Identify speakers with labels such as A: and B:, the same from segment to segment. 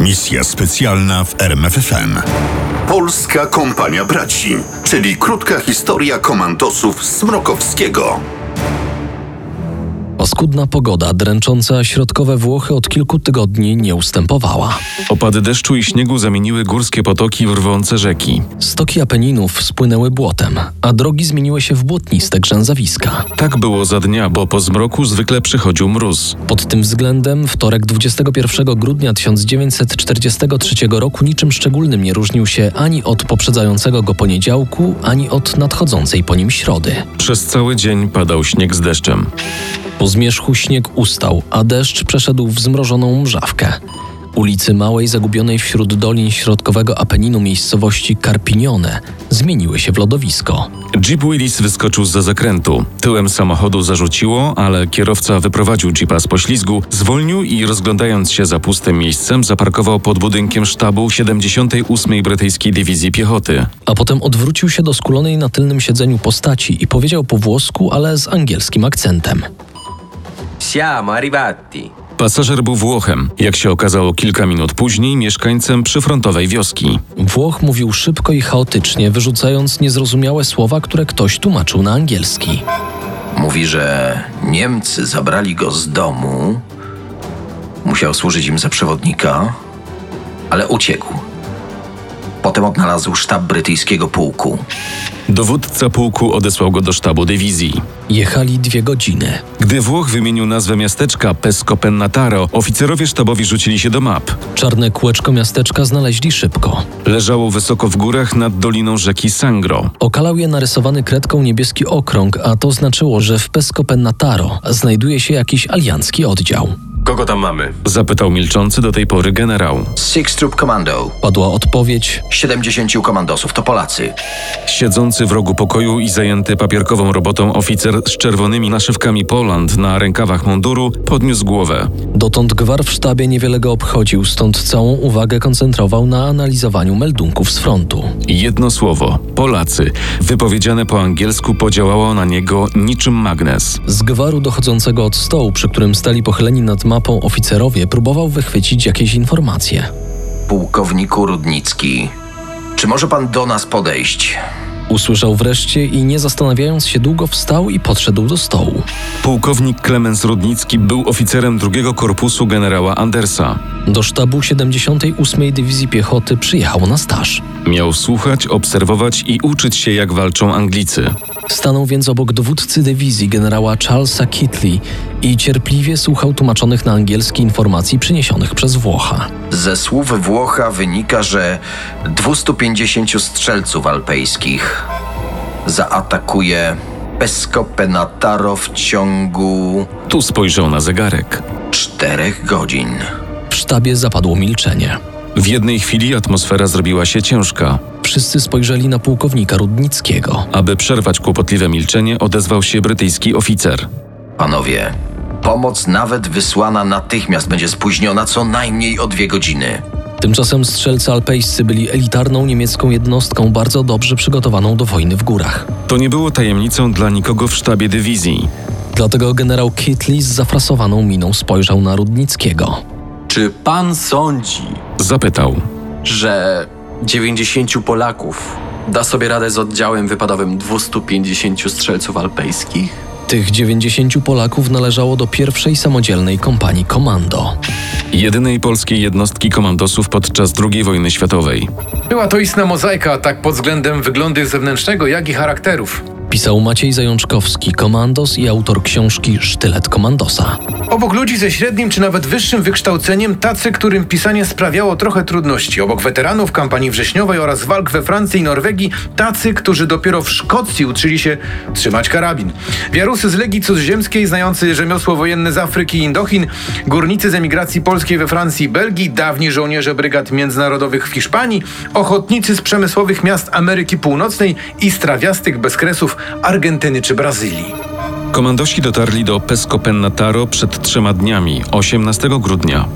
A: Misja specjalna w RMFFM.
B: Polska Kompania Braci, czyli krótka historia komandosów Smrokowskiego.
C: Paskudna pogoda dręcząca środkowe Włochy od kilku tygodni nie ustępowała.
D: Opady deszczu i śniegu zamieniły górskie potoki w rwące rzeki.
C: Stoki Apeninów spłynęły błotem, a drogi zmieniły się w błotniste grzęzawiska.
D: Tak było za dnia, bo po zmroku zwykle przychodził mróz.
C: Pod tym względem wtorek 21 grudnia 1943 roku niczym szczególnym nie różnił się ani od poprzedzającego go poniedziałku, ani od nadchodzącej po nim środy.
D: Przez cały dzień padał śnieg z deszczem.
C: Po zmierzchu śnieg ustał, a deszcz przeszedł w zmrożoną mrzawkę. Ulicy małej, zagubionej wśród dolin środkowego Apeninu miejscowości Karpinione zmieniły się w lodowisko.
D: Jeep Willis wyskoczył za zakrętu. Tyłem samochodu zarzuciło, ale kierowca wyprowadził jeepa z poślizgu, zwolnił i rozglądając się za pustym miejscem, zaparkował pod budynkiem sztabu 78. Brytyjskiej Dywizji Piechoty.
C: A potem odwrócił się do skulonej na tylnym siedzeniu postaci i powiedział po włosku, ale z angielskim akcentem.
E: Siamo arrivati.
D: Pasażer był Włochem, jak się okazało kilka minut później mieszkańcem przyfrontowej wioski.
C: Włoch mówił szybko i chaotycznie, wyrzucając niezrozumiałe słowa, które ktoś tłumaczył na angielski.
E: Mówi, że Niemcy zabrali go z domu. Musiał służyć im za przewodnika, ale uciekł. Potem odnalazł sztab brytyjskiego pułku.
D: Dowódca pułku odesłał go do sztabu dywizji.
C: Jechali dwie godziny.
D: Gdy Włoch wymienił nazwę miasteczka Pesco Pennataro, oficerowie sztabowi rzucili się do map.
C: Czarne kółeczko miasteczka znaleźli szybko.
D: Leżało wysoko w górach nad doliną rzeki Sangro.
C: Okalał je narysowany kredką niebieski okrąg, a to znaczyło, że w Pesco Pennataro znajduje się jakiś aliancki oddział.
F: Kogo tam mamy?
D: Zapytał milczący do tej pory generał.
E: Six Troop Commando.
C: Padła odpowiedź,
E: 70 komandosów to Polacy.
D: Siedzący w rogu pokoju i zajęty papierkową robotą oficer z czerwonymi naszywkami Poland na rękawach munduru podniósł głowę.
C: dotąd gwar w sztabie niewiele go obchodził, stąd całą uwagę koncentrował na analizowaniu meldunków z frontu.
D: Jedno słowo Polacy, wypowiedziane po angielsku, podziałało na niego niczym magnes.
C: Z gwaru dochodzącego od stołu, przy którym stali pochyleni nad mapą oficerowie, próbował wychwycić jakieś informacje.
E: Pułkowniku Rudnicki. Czy może pan do nas podejść?
C: Usłyszał wreszcie i nie zastanawiając się długo wstał i podszedł do stołu.
D: Pułkownik Klemens Rudnicki był oficerem drugiego korpusu generała Andersa.
C: Do sztabu 78. Dywizji Piechoty przyjechał na staż.
D: Miał słuchać, obserwować i uczyć się, jak walczą Anglicy.
C: Stanął więc obok dowódcy dywizji generała Charlesa Kitley i cierpliwie słuchał tłumaczonych na angielski informacji przyniesionych przez Włocha.
E: Ze słów Włocha wynika, że 250 strzelców alpejskich zaatakuje Pesco Penataro w ciągu
D: Tu spojrzał na zegarek.
E: 4 godzin.
C: W sztabie zapadło milczenie.
D: W jednej chwili atmosfera zrobiła się ciężka.
C: Wszyscy spojrzeli na pułkownika Rudnickiego.
D: Aby przerwać kłopotliwe milczenie, odezwał się brytyjski oficer.
E: Panowie, pomoc nawet wysłana natychmiast będzie spóźniona co najmniej o dwie godziny.
C: Tymczasem strzelcy alpejscy byli elitarną niemiecką jednostką bardzo dobrze przygotowaną do wojny w górach.
D: To nie było tajemnicą dla nikogo w sztabie dywizji.
C: Dlatego generał Kitley z zafrasowaną miną spojrzał na Rudnickiego.
G: Czy pan sądzi,
D: Zapytał.
G: że 90 Polaków da sobie radę z oddziałem wypadowym 250 strzelców alpejskich?
C: Tych 90 Polaków należało do pierwszej samodzielnej kompanii Komando.
D: Jedynej polskiej jednostki komandosów podczas II wojny światowej.
H: Była to istna mozaika, tak pod względem wyglądu zewnętrznego, jak i charakterów.
C: Pisał Maciej Zajączkowski, komandos i autor książki Sztylet Komandosa.
H: Obok ludzi ze średnim czy nawet wyższym wykształceniem, tacy, którym pisanie sprawiało trochę trudności. Obok weteranów kampanii wrześniowej oraz walk we Francji i Norwegii, tacy, którzy dopiero w Szkocji uczyli się trzymać karabin. Wiarusy z Legii Cudzoziemskiej, znający rzemiosło wojenne z Afryki i Indochin, górnicy z emigracji polskiej we Francji i Belgii, dawni żołnierze brygad międzynarodowych w Hiszpanii, ochotnicy z przemysłowych miast Ameryki Północnej i strawiastych bezkresów Argentyny czy Brazylii.
D: Komandosi dotarli do Pesco Pennataro przed trzema dniami, 18 grudnia.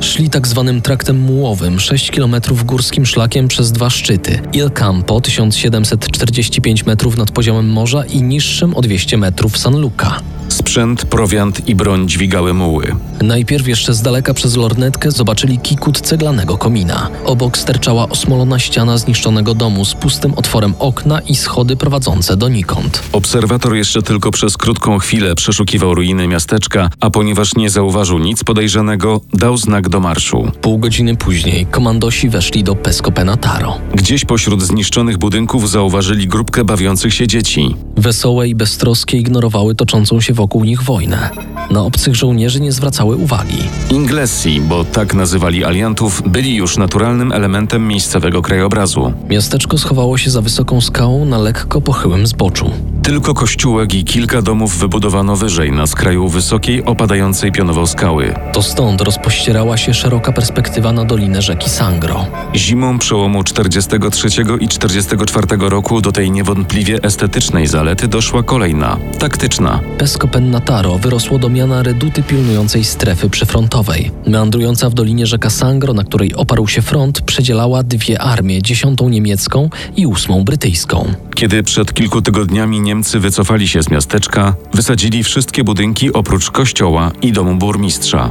C: Szli tak zwanym traktem mułowym, 6 km górskim szlakiem przez dwa szczyty. Il Campo, 1745 metrów nad poziomem morza i niższym o 200 metrów San Luca.
D: Sprzęt, prowiant i broń dźwigały muły.
C: Najpierw jeszcze z daleka przez lornetkę zobaczyli kikut ceglanego komina. Obok sterczała osmolona ściana zniszczonego domu z pustym otworem okna i schody prowadzące donikąd.
D: Obserwator jeszcze tylko przez krótką chwilę przeszukiwał ruiny miasteczka, a ponieważ nie zauważył nic podejrzanego, dał znak do marszu.
C: Pół godziny później komandosi weszli do Pescopenataro.
D: Gdzieś pośród zniszczonych budynków zauważyli grupkę bawiących się dzieci.
C: Wesołe i beztroskie ignorowały toczącą się wokół nich wojnę. Na obcych żołnierzy nie zwracały uwagi.
D: Inglesi, bo tak nazywali aliantów, byli już naturalnym elementem miejscowego krajobrazu.
C: Miasteczko schowało się za wysoką skałą na lekko pochyłym zboczu.
D: Tylko kościółek i kilka domów wybudowano wyżej, na skraju wysokiej, opadającej pionowo skały.
C: To stąd rozpościerała się szeroka perspektywa na dolinę rzeki Sangro.
D: Zimą przełomu 43 i 44 roku do tej niewątpliwie estetycznej zalety doszła kolejna, taktyczna.
C: Pesco Pennataro wyrosło do miana reduty pilnującej strefy przyfrontowej. Meandrująca w dolinie rzeka Sangro, na której oparł się front, przedzielała dwie armie, dziesiątą niemiecką i ósmą brytyjską.
D: Kiedy przed kilku tygodniami Niemcy wycofali się z miasteczka, wysadzili wszystkie budynki oprócz kościoła i domu burmistrza.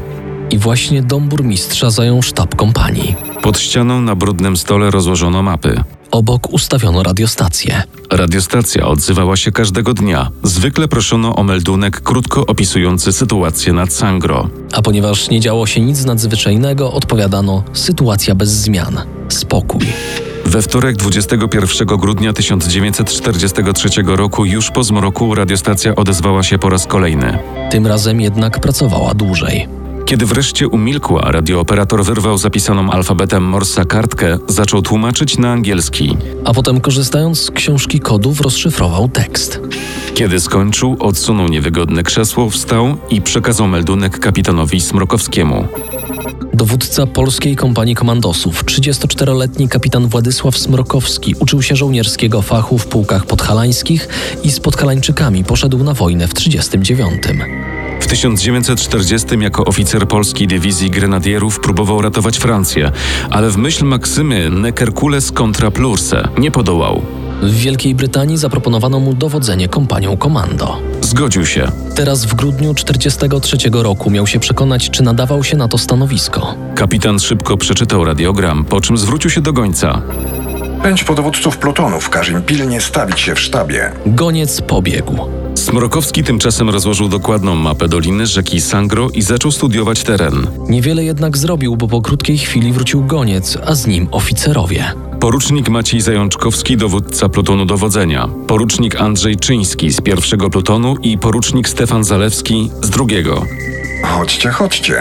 C: I właśnie dom burmistrza zajął sztab kompanii.
D: Pod ścianą na brudnym stole rozłożono mapy.
C: Obok ustawiono radiostację.
D: Radiostacja odzywała się każdego dnia. Zwykle proszono o meldunek krótko opisujący sytuację nad Sangro.
C: A ponieważ nie działo się nic nadzwyczajnego, odpowiadano sytuacja bez zmian. Spokój.
D: We wtorek 21 grudnia 1943 roku, już po zmroku, radiostacja odezwała się po raz kolejny.
C: Tym razem jednak pracowała dłużej.
D: Kiedy wreszcie umilkła, radiooperator wyrwał zapisaną alfabetem Morsa kartkę, zaczął tłumaczyć na angielski.
C: A potem, korzystając z książki kodów, rozszyfrował tekst.
D: Kiedy skończył, odsunął niewygodne krzesło, wstał i przekazał meldunek kapitanowi Smrokowskiemu.
C: Dowódca Polskiej Kompanii Komandosów, 34-letni kapitan Władysław Smrokowski, uczył się żołnierskiego fachu w pułkach podhalańskich i z podhalańczykami poszedł na wojnę w 1939.
D: W 1940 jako oficer polskiej dywizji grenadierów próbował ratować Francję, ale w myśl Maksymy Neckercules contra Plurse nie podołał.
C: W Wielkiej Brytanii zaproponowano mu dowodzenie kompanią komando.
D: Zgodził się.
C: Teraz w grudniu 1943 roku miał się przekonać, czy nadawał się na to stanowisko.
D: Kapitan szybko przeczytał radiogram, po czym zwrócił się do gońca.
F: Pięć podowódców plutonów każe im pilnie stawić się w sztabie.
C: Goniec pobiegł.
D: Smrokowski tymczasem rozłożył dokładną mapę doliny rzeki Sangro i zaczął studiować teren.
C: Niewiele jednak zrobił, bo po krótkiej chwili wrócił goniec, a z nim oficerowie.
D: Porucznik Maciej Zajączkowski, dowódca plutonu dowodzenia, porucznik Andrzej Czyński z pierwszego plutonu i porucznik Stefan Zalewski z drugiego.
F: Chodźcie, chodźcie.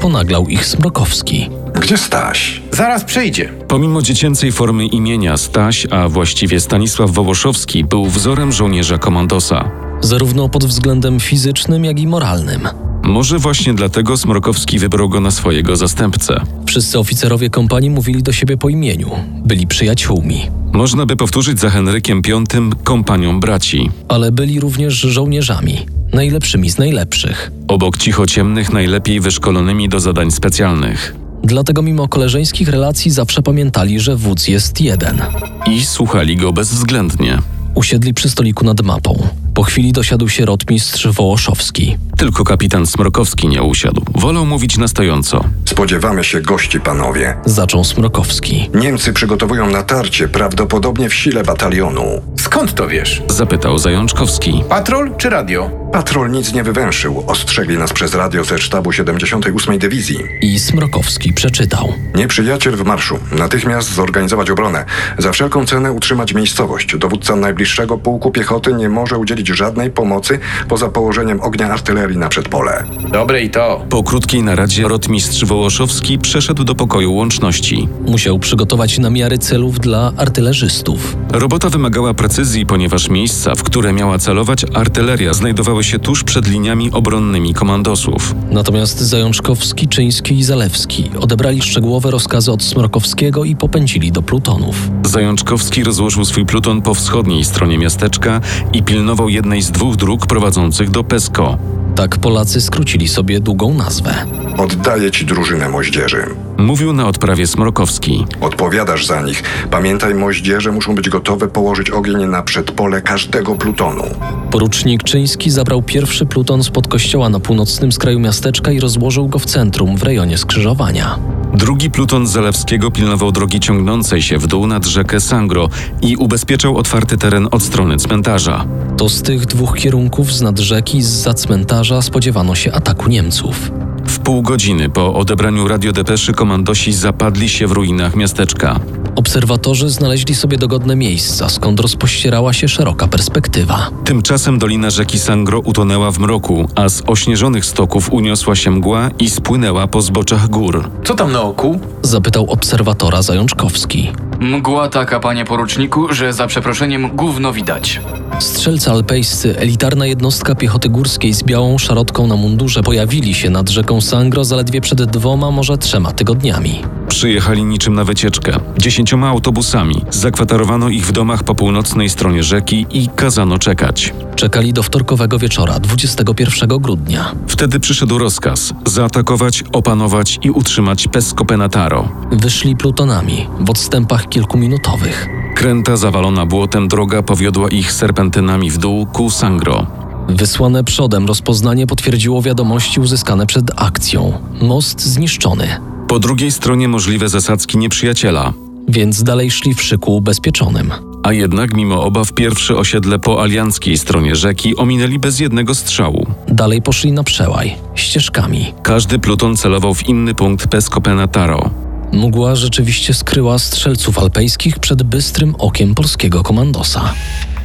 C: Ponaglał ich Smrokowski.
F: Gdzie Staś?
H: Zaraz przyjdzie.
D: Pomimo dziecięcej formy imienia Staś, a właściwie Stanisław Wołoszowski, był wzorem żołnierza komandosa.
C: Zarówno pod względem fizycznym, jak i moralnym.
D: Może właśnie dlatego Smrokowski wybrał go na swojego zastępcę.
C: Wszyscy oficerowie kompanii mówili do siebie po imieniu. Byli przyjaciółmi.
D: Można by powtórzyć za Henrykiem V kompanią braci.
C: Ale byli również żołnierzami. Najlepszymi z najlepszych.
D: Obok cichociemnych najlepiej wyszkolonymi do zadań specjalnych.
C: Dlatego mimo koleżeńskich relacji zawsze pamiętali, że wódz jest jeden.
D: I słuchali go bezwzględnie.
C: Usiedli przy stoliku nad mapą. Po chwili dosiadł się rotmistrz Wołoszowski.
D: Tylko kapitan Smrokowski nie usiadł. Wolał mówić na stojąco.
F: Spodziewamy się gości, panowie.
C: Zaczął Smrokowski.
F: Niemcy przygotowują natarcie, prawdopodobnie w sile batalionu.
H: Skąd to wiesz?
D: Zapytał Zajączkowski.
H: Patrol czy radio?
F: Patrol nic nie wywęszył. Ostrzegli nas przez radio ze sztabu 78. Dywizji.
C: I Smrokowski przeczytał.
F: Nieprzyjaciel w marszu. Natychmiast zorganizować obronę. Za wszelką cenę utrzymać miejscowość. Dowódca najbliższego pułku piechoty nie może udzielić żadnej pomocy poza położeniem ognia artylerii na przedpole.
H: Dobre i to.
D: Po krótkiej naradzie rotmistrz Wołoszowski przeszedł do pokoju łączności.
C: Musiał przygotować namiary celów dla artylerzystów.
D: Robota wymagała precyzji, ponieważ miejsca, w które miała celować artyleria, znajdowały się tuż przed liniami obronnymi komandosów.
C: Natomiast Zajączkowski, Czyński i Zalewski odebrali szczegółowe rozkazy od Smrokowskiego i popędzili do plutonów.
D: Zajączkowski rozłożył swój pluton po wschodniej stronie miasteczka i pilnował jednej z dwóch dróg prowadzących do Pesko.
C: Tak Polacy skrócili sobie długą nazwę.
F: Oddaję ci drużynę moździerzy.
D: Mówił na odprawie Smrokowski.
F: Odpowiadasz za nich. Pamiętaj, moździerze muszą być gotowe położyć ogień na przedpole każdego plutonu.
C: Porucznik Czyński zabrał pierwszy pluton spod kościoła na północnym skraju miasteczka i rozłożył go w centrum, w rejonie skrzyżowania.
D: Drugi pluton Zalewskiego pilnował drogi ciągnącej się w dół nad rzekę Sangro i ubezpieczał otwarty teren od strony cmentarza.
C: To z tych dwóch kierunków z nad rzeki, z za cmentarza spodziewano się ataku Niemców.
D: W pół godziny po odebraniu radiodepeszy komandosi zapadli się w ruinach miasteczka.
C: Obserwatorzy znaleźli sobie dogodne miejsca, skąd rozpościerała się szeroka perspektywa.
D: Tymczasem dolina rzeki Sangro utonęła w mroku, a z ośnieżonych stoków uniosła się mgła i spłynęła po zboczach gór.
H: Co tam na oku?
C: Zapytał obserwatora Zajączkowski.
I: Mgła taka, panie poruczniku, że za przeproszeniem gówno widać.
C: Strzelcy alpejscy, elitarna jednostka piechoty górskiej z białą szarotką na mundurze, pojawili się nad rzeką Sangro zaledwie przed dwoma, może trzema tygodniami.
D: Przyjechali niczym na wycieczkę, dziesięcioma autobusami. Zakwaterowano ich w domach po północnej stronie rzeki i kazano czekać.
C: Czekali do wtorkowego wieczora, 21 grudnia.
D: Wtedy przyszedł rozkaz zaatakować, opanować i utrzymać Pesco Penataro.
C: Wyszli plutonami w odstępach kilkuminutowych.
D: Kręta zawalona błotem droga powiodła ich serpentynami w dół ku Sangro.
C: Wysłane przodem rozpoznanie potwierdziło wiadomości uzyskane przed akcją. Most zniszczony,
D: Po drugiej stronie możliwe zasadzki nieprzyjaciela,
C: więc dalej szli w szyku ubezpieczonym.
D: a jednak mimo obaw pierwsze osiedle po alianckiej stronie rzeki ominęli bez jednego strzału.
C: Dalej poszli na przełaj, ścieżkami.
D: Każdy pluton celował w inny punkt Pesco Penataro.
C: Mgła rzeczywiście skryła strzelców alpejskich przed bystrym okiem polskiego komandosa.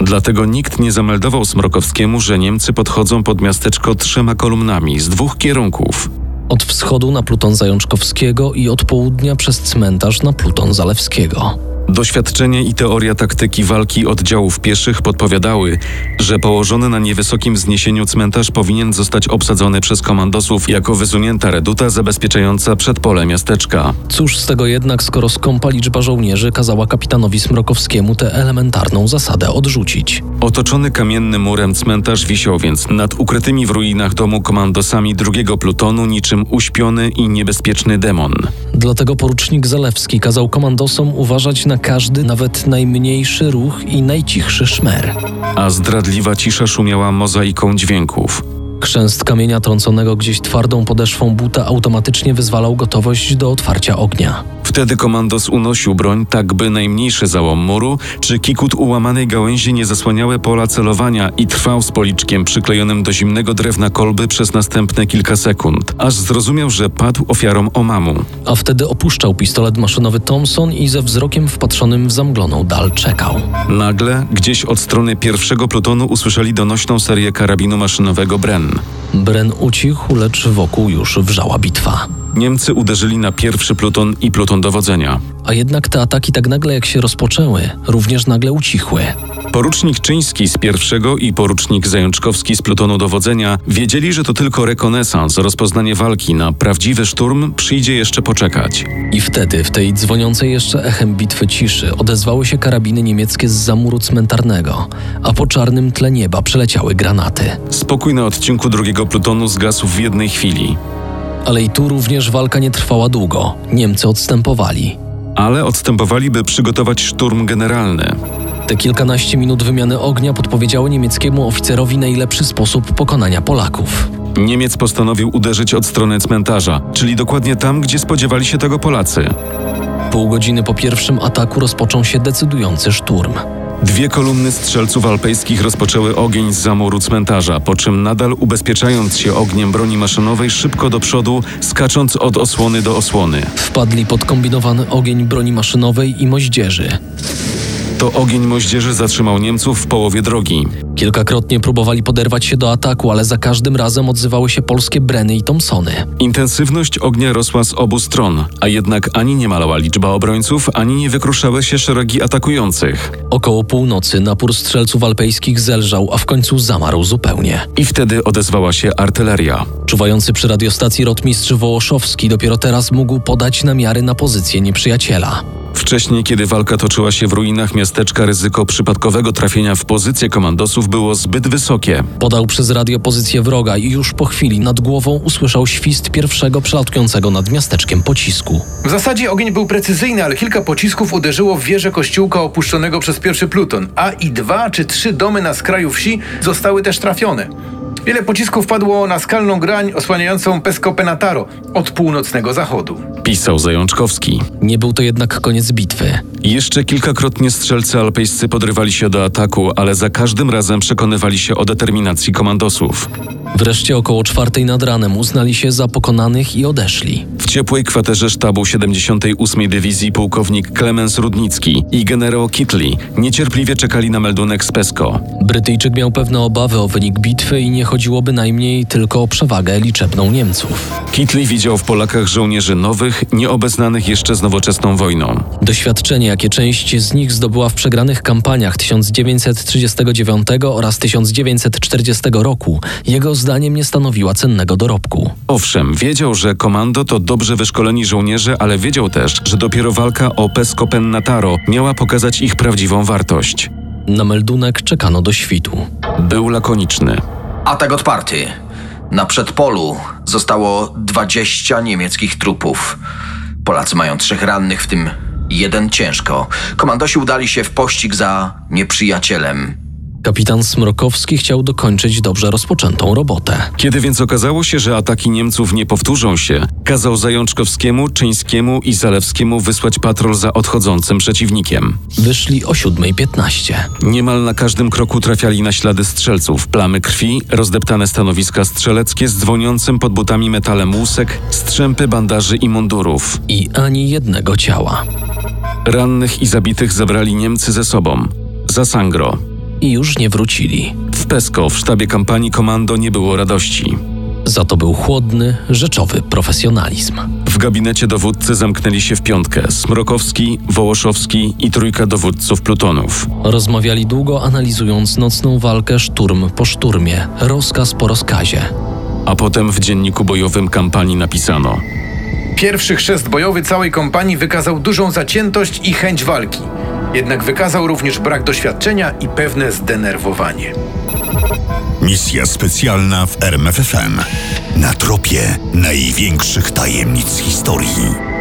D: Dlatego nikt nie zameldował Smrokowskiemu, że Niemcy podchodzą pod miasteczko trzema kolumnami z dwóch kierunków.
C: Od wschodu na pluton Zajączkowskiego i od południa przez cmentarz na pluton Zalewskiego.
D: Doświadczenie i teoria taktyki walki oddziałów pieszych podpowiadały, że położony na niewysokim wzniesieniu cmentarz powinien zostać obsadzony przez komandosów jako wysunięta reduta zabezpieczająca przedpole miasteczka.
C: Cóż z tego jednak, skoro skąpa liczba żołnierzy kazała kapitanowi Smrokowskiemu tę elementarną zasadę odrzucić.
D: Otoczony kamiennym murem cmentarz wisiał więc nad ukrytymi w ruinach domu komandosami drugiego plutonu niczym uśpiony i niebezpieczny demon.
C: Dlatego porucznik Zalewski kazał komandosom uważać na każdy, nawet najmniejszy ruch i najcichszy szmer.
D: A zdradliwa cisza szumiała mozaiką dźwięków.
C: Chrzęst kamienia trąconego gdzieś twardą podeszwą buta automatycznie wyzwalał gotowość do otwarcia ognia.
D: Wtedy komandos unosił broń tak, by najmniejszy załom muru czy kikut ułamanej gałęzi nie zasłaniały pola celowania i trwał z policzkiem przyklejonym do zimnego drewna kolby przez następne kilka sekund, aż zrozumiał, że padł ofiarą omamu.
C: A wtedy opuszczał pistolet maszynowy Thompson i ze wzrokiem wpatrzonym w zamgloną dal czekał.
D: Nagle, gdzieś od strony pierwszego plutonu usłyszeli donośną serię karabinu maszynowego Bren.
C: Bren ucichł, lecz wokół już wrzała bitwa.
D: Niemcy uderzyli na pierwszy pluton i pluton dowodzenia.
C: A jednak te ataki tak nagle jak się rozpoczęły, również nagle ucichły.
D: Porucznik Czyński z pierwszego i porucznik Zajączkowski z plutonu dowodzenia wiedzieli, że to tylko rekonesans, rozpoznanie walki na prawdziwy szturm przyjdzie jeszcze poczekać.
C: I wtedy, w tej dzwoniącej jeszcze echem bitwy ciszy, odezwały się karabiny niemieckie z zamuru cmentarnego, a po czarnym tle nieba przeleciały granaty.
D: Spokój na odcinku drugiego plutonu zgasł w jednej chwili,
C: Ale i tu również walka nie trwała długo. Niemcy odstępowali.
D: ale odstępowali, by przygotować szturm generalny.
C: Te kilkanaście minut wymiany ognia podpowiedziało niemieckiemu oficerowi najlepszy sposób pokonania Polaków.
D: Niemiec postanowił uderzyć od strony cmentarza, czyli dokładnie tam, gdzie spodziewali się tego Polacy.
C: Pół godziny po pierwszym ataku rozpoczął się decydujący szturm.
D: Dwie kolumny strzelców alpejskich rozpoczęły ogień z zamuru cmentarza, po czym nadal ubezpieczając się ogniem broni maszynowej szybko do przodu, skacząc od osłony do osłony.
C: Wpadli pod kombinowany ogień broni maszynowej i moździerzy.
D: To ogień moździerzy zatrzymał Niemców w połowie drogi.
C: Kilkakrotnie próbowali poderwać się do ataku, ale za każdym razem odzywały się polskie Breny i Thompsony.
D: Intensywność ognia rosła z obu stron, a jednak ani nie malała liczba obrońców, ani nie wykruszały się szeregi atakujących.
C: Około północy napór strzelców alpejskich zelżał, a w końcu zamarł zupełnie.
D: I wtedy odezwała się artyleria.
C: Czuwający przy radiostacji rotmistrz Wołoszowski dopiero teraz mógł podać namiary na pozycję nieprzyjaciela.
D: Wcześniej, kiedy walka toczyła się w ruinach miasteczka, ryzyko przypadkowego trafienia w pozycję komandosów było zbyt wysokie.
C: Podał przez radio pozycję wroga i już po chwili nad głową usłyszał świst pierwszego przelatującego nad miasteczkiem pocisku.
H: W zasadzie ogień był precyzyjny, ale kilka pocisków uderzyło w wieżę kościółka opuszczonego przez pierwszy pluton, a i dwa czy trzy domy na skraju wsi zostały też trafione. Wiele pocisków padło na skalną grań osłaniającą Pesco Penataro od północnego zachodu.
D: Pisał Zajączkowski.
C: Nie był to jednak koniec bitwy.
D: Jeszcze kilkakrotnie strzelcy alpejscy podrywali się do ataku, ale za każdym razem przekonywali się o determinacji komandosów.
C: Wreszcie około czwartej nad ranem uznali się za pokonanych i odeszli.
D: W ciepłej kwaterze sztabu 78. Dywizji pułkownik Klemens Rudnicki i generał Kitli niecierpliwie czekali na meldunek z PESCO.
C: Brytyjczyk miał pewne obawy o wynik bitwy i nie chodziło bynajmniej tylko o przewagę liczebną Niemców.
D: Kitli widział w Polakach żołnierzy nowych, nieobeznanych jeszcze z nowoczesną wojną.
C: Doświadczenie, jakie część z nich zdobyła w przegranych kampaniach 1939 oraz 1940 roku, jego zdaniem nie stanowiła cennego dorobku.
D: Owszem, wiedział, że komando to dobrze wyszkoleni żołnierze, ale wiedział też, że dopiero walka o Pesco Pennataro miała pokazać ich prawdziwą wartość.
C: Na meldunek czekano do świtu.
D: Był lakoniczny.
E: Atak odparty. Na przedpolu zostało 20 niemieckich trupów. Polacy mają trzech rannych, w tym jeden ciężko. Komandosi udali się w pościg za nieprzyjacielem.
C: Kapitan Smrokowski chciał dokończyć dobrze rozpoczętą robotę.
D: Kiedy więc okazało się, że ataki Niemców nie powtórzą się, kazał Zajączkowskiemu, Czyńskiemu i Zalewskiemu wysłać patrol za odchodzącym przeciwnikiem.
C: Wyszli o 7.15.
D: Niemal na każdym kroku trafiali na ślady strzelców, plamy krwi, rozdeptane stanowiska strzeleckie z dzwoniącym pod butami metalem łusek, strzępy bandaży i mundurów.
C: I ani jednego ciała.
D: Rannych i zabitych zabrali Niemcy ze sobą. Za Sangro.
C: I już nie wrócili.
D: W Pesco w sztabie kampanii komando nie było radości.
C: Za to był chłodny, rzeczowy profesjonalizm.
D: W gabinecie dowódcy zamknęli się w piątkę Smrokowski, Wołoszowski i trójka dowódców plutonów.
C: Rozmawiali długo, analizując nocną walkę szturm po szturmie, rozkaz po rozkazie.
D: A potem w dzienniku bojowym kampanii napisano:
H: Pierwszy chrzest bojowy całej kompanii wykazał dużą zaciętość i chęć walki. Jednak wykazał również brak doświadczenia i pewne zdenerwowanie.
A: Misja specjalna w RMFFM. Na tropie największych tajemnic historii.